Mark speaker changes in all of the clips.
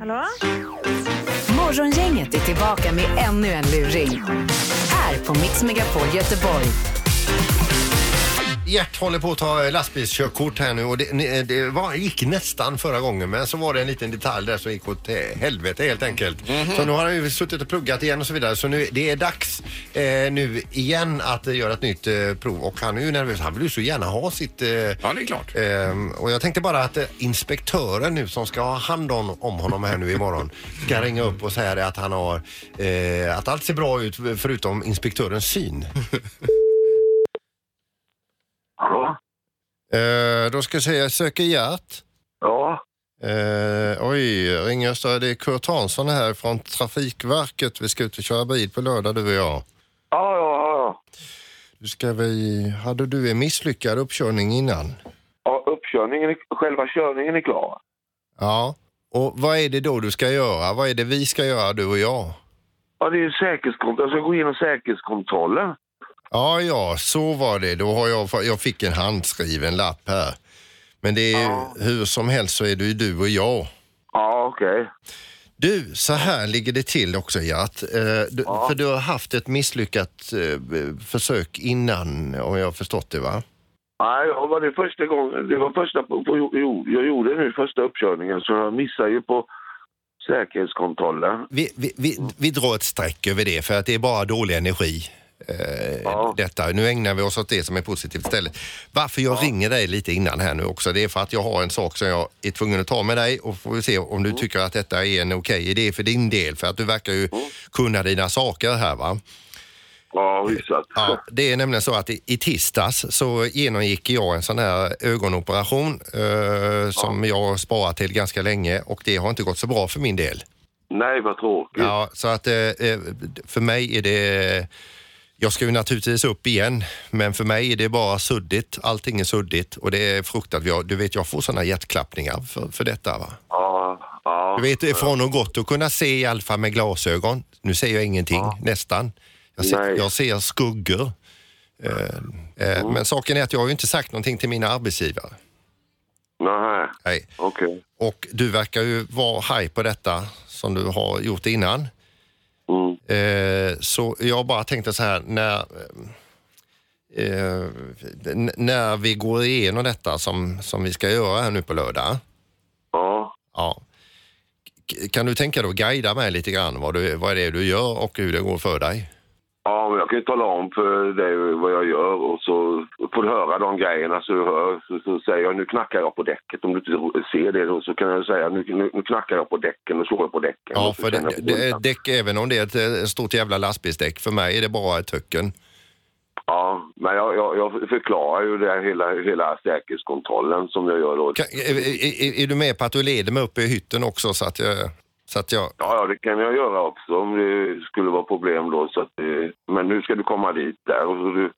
Speaker 1: Hallå?
Speaker 2: Morgongänget är tillbaka med ännu en luring. Här på Mix Megapol Göteborg.
Speaker 3: Gert håller på att ta eh, lastbilskörkort här nu och det, ni- eh, det var, gick nästan förra gången men så var det en liten detalj där som gick åt eh, helvete helt enkelt.
Speaker 4: Mhm.
Speaker 3: Så nu har han ju suttit och pluggat igen och så vidare så nu, det är dags eh, nu igen att eh, göra ett nytt eh, prov och han är ju nervös. Han vill ju så gärna ha sitt... Eh,
Speaker 4: Ja, det är klart.
Speaker 3: ehm, och jag tänkte bara att eh, inspektören nu som ska ha hand om, om honom här nu imorgon ska ringa upp och säga det att han har eh, att allt ser bra ut förutom inspektörens syn.
Speaker 5: Hallå?
Speaker 3: Eh, då ska jag säga, jag söker Gert.
Speaker 5: Ja,
Speaker 3: Eh, oj, ring Östra. Det är Kurt Hansson här från Trafikverket. Vi ska ut och köra bil på lördag, du och jag.
Speaker 5: ja, ja. ja.
Speaker 3: Du ska vi... Hade du en misslyckad uppkörning innan?
Speaker 5: ja uppkörningen, är- själva körningen är klar.
Speaker 3: Ja. Och vad är det då du ska göra? Vad är det vi ska göra, du och jag?
Speaker 5: Ja, det är säkerhetskontroll. Jag ska gå igenom säkerhetskontrollen.
Speaker 3: Ja, ja, så var det. Då har jag, jag fick en handskriven lapp här. Men det är hur som helst så är det ju du och jag.
Speaker 5: Ja, okej.
Speaker 3: Du, så här ligger det till också Gert. Eh, du, För du har haft ett misslyckat eh, b- försök innan, om jag har förstått det va?
Speaker 5: Nej, ja, var det första gången. Det var första på, på, jo, jag gjorde nu första uppkörningen så jag missade ju på säkerhetskontrollen.
Speaker 3: Vi, vi, vi, vi drar ett streck över det för att det är bara dålig energi. Eh,
Speaker 5: Ja.
Speaker 3: detta. Nu ägnar vi oss åt det som är positivt istället. Varför jag ringer dig lite innan här nu också, det är för att jag har en sak som jag är tvungen att ta med dig och får vi se om du tycker att detta är en okej idé för din del. För att du verkar ju kunna dina saker här va.
Speaker 5: Ja, hyfsat.
Speaker 3: Ja, det är nämligen så att i, i tisdags så genomgick jag en sån här ögonoperation eh, som jag har sparat till ganska länge och det har inte gått så bra för min del.
Speaker 5: Nej, vad tråkigt.
Speaker 3: Ja, så att eh, eh, för mig är det... Jag ska ju naturligtvis upp igen, men för mig är det bara suddigt. Allting är suddigt och det är fruktat. Jag, du vet, jag får såna hjärtklappningar för, för detta. Va?
Speaker 5: Ja, ja.
Speaker 3: Du vet, det är från och gott att kunna se i alla fall med glasögon. Nu ser jag ingenting, nästan. Jag ser,
Speaker 5: Nej.
Speaker 3: jag ser skuggor. Eh, eh,
Speaker 5: Mm.
Speaker 3: Men saken är att jag har ju inte sagt någonting till mina arbetsgivare.
Speaker 5: Nej,
Speaker 3: Nej.
Speaker 5: okej.
Speaker 3: Och du verkar ju vara haj på detta som du har gjort innan.
Speaker 5: Mm.
Speaker 3: Eh, så jag bara tänkte så här, när, eh, n- när vi går igenom detta som, som vi ska göra här nu på lördag.
Speaker 5: Ja.
Speaker 3: Ja. K- Kan du tänka dig att guida mig lite grann vad, du, vad det är du gör och hur det går för dig?
Speaker 5: ja, men jag kan ju tala om för dig vad jag gör och så får du höra de grejerna så du hör. Så, så säger jag nu knackar jag på däcket. Om du inte ser det då så kan jag säga nu, nu, nu knackar jag på däcken och slår jag på däcken.
Speaker 3: Ja,
Speaker 5: Och så
Speaker 3: för
Speaker 5: känner
Speaker 3: det,
Speaker 5: jag på
Speaker 3: det,
Speaker 5: pulsen.
Speaker 3: däck, även om det är ett eh, stort jävla lastbilsdäck, för mig är det bara ett töcken.
Speaker 5: Ja, men jag, jag, jag förklarar ju det här hela, hela säkerhetskontrollen som jag gör då.
Speaker 3: Kan, är, är, är du med på att du leder mig upp i hytten också så att jag... Så att jag
Speaker 5: Ja, ja, det kan jag göra också om det skulle vara problem då. Så att, eh, men nu ska du komma dit där och så du,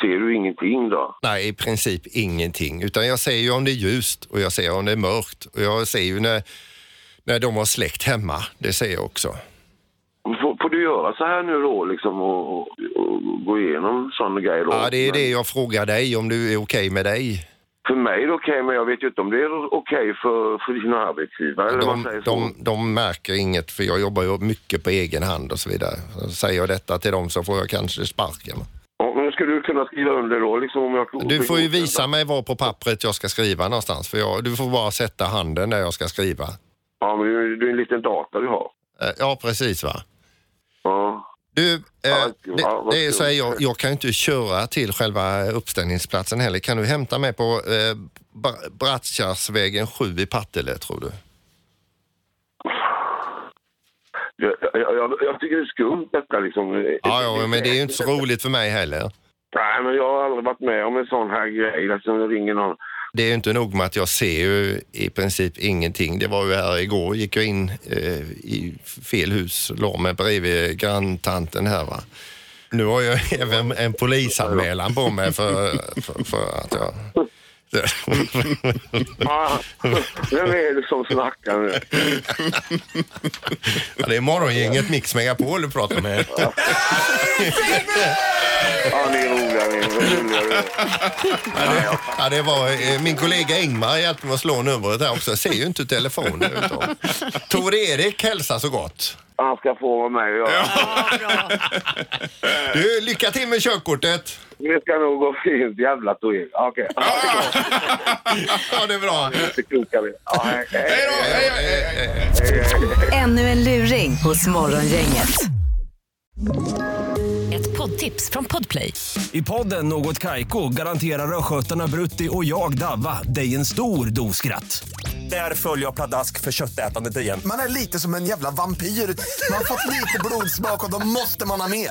Speaker 5: ser du ingenting då?
Speaker 3: Nej, i princip ingenting. Utan jag ser ju om det är ljust och jag ser om det är mörkt. Och jag ser ju när, när de har släkt hemma. Det ser jag också.
Speaker 5: Får, får du göra så här nu då liksom och, och, och gå igenom sådana grejer då?
Speaker 3: Ja, det är det jag frågar dig, om du är okej med dig.
Speaker 5: För mig är det okej, men jag vet ju inte om det är okej för, för dina arbetsgivare. eller vad man
Speaker 3: De,
Speaker 5: säger så.
Speaker 3: de, de märker inget, för jag jobbar ju mycket på egen hand och så vidare. Så säger jag detta till dem så får jag kanske sparken.
Speaker 5: Ja, men ska du kunna skriva under då liksom om jag...
Speaker 3: Du får ju visa mig var på pappret jag ska skriva någonstans. För jag, du får bara sätta handen där jag ska skriva.
Speaker 5: Ja, men du, du är en liten dator du har.
Speaker 3: Eh, Ja, precis va?
Speaker 5: Ja.
Speaker 3: Du, eh,
Speaker 5: Ja, ja,
Speaker 3: det,
Speaker 5: vad
Speaker 3: det är
Speaker 5: kul.
Speaker 3: så här, jag, jag kan ju inte köra till själva uppställningsplatsen heller. Kan du hämta mig på eh, Bra- Brattkärrsvägen 7 i Partille, tror du?
Speaker 5: Jag, jag, jag, jag tycker det är skumt detta liksom.
Speaker 3: Ja, ja, men det är ju inte så roligt för mig heller.
Speaker 5: Nej, men jag har aldrig varit med om en sån här grej. Liksom, jag ringer någon.
Speaker 3: Det är ju inte nog med att jag ser ju i princip ingenting. Det var ju här igår, gick jag in eh, i fel hus, la mig bredvid granntanten här va. Nu har jag även en polisanmälan på mig för, för, för att jag
Speaker 5: Ah, vem är det som snackar nu?
Speaker 3: Ja, det är morgongänget Mix Megapol du pratar med.
Speaker 5: Ja, Ah, ni är roliga, ni är roliga.
Speaker 3: Ja, det var eh, min kollega Ingmar hjälpte mig att slå numret där också. Jag ser ju inte telefonen. utan. Tor-Erik hälsar så gott.
Speaker 5: Han ska få vara med och göra.
Speaker 3: Du, lycka till med körkortet.
Speaker 5: Det ska nog gå fint. Jävla Torell. Okej.
Speaker 3: Ja, det är bra.
Speaker 5: Det kokar vi. Ja, hej, hej.
Speaker 1: Hej då! Hej, hej, hej, hej.
Speaker 2: Ännu en luring hos Morgongänget.
Speaker 4: Ett poddtips från Podplay.
Speaker 6: I podden Något Kaiko garanterar östgötarna Brutti och jag, Davva, dig en stor dos skratt. Där följer jag pladask för köttätandet igen.
Speaker 7: Man är lite som en jävla vampyr. Man har fått lite blodsmak och då måste man ha mer.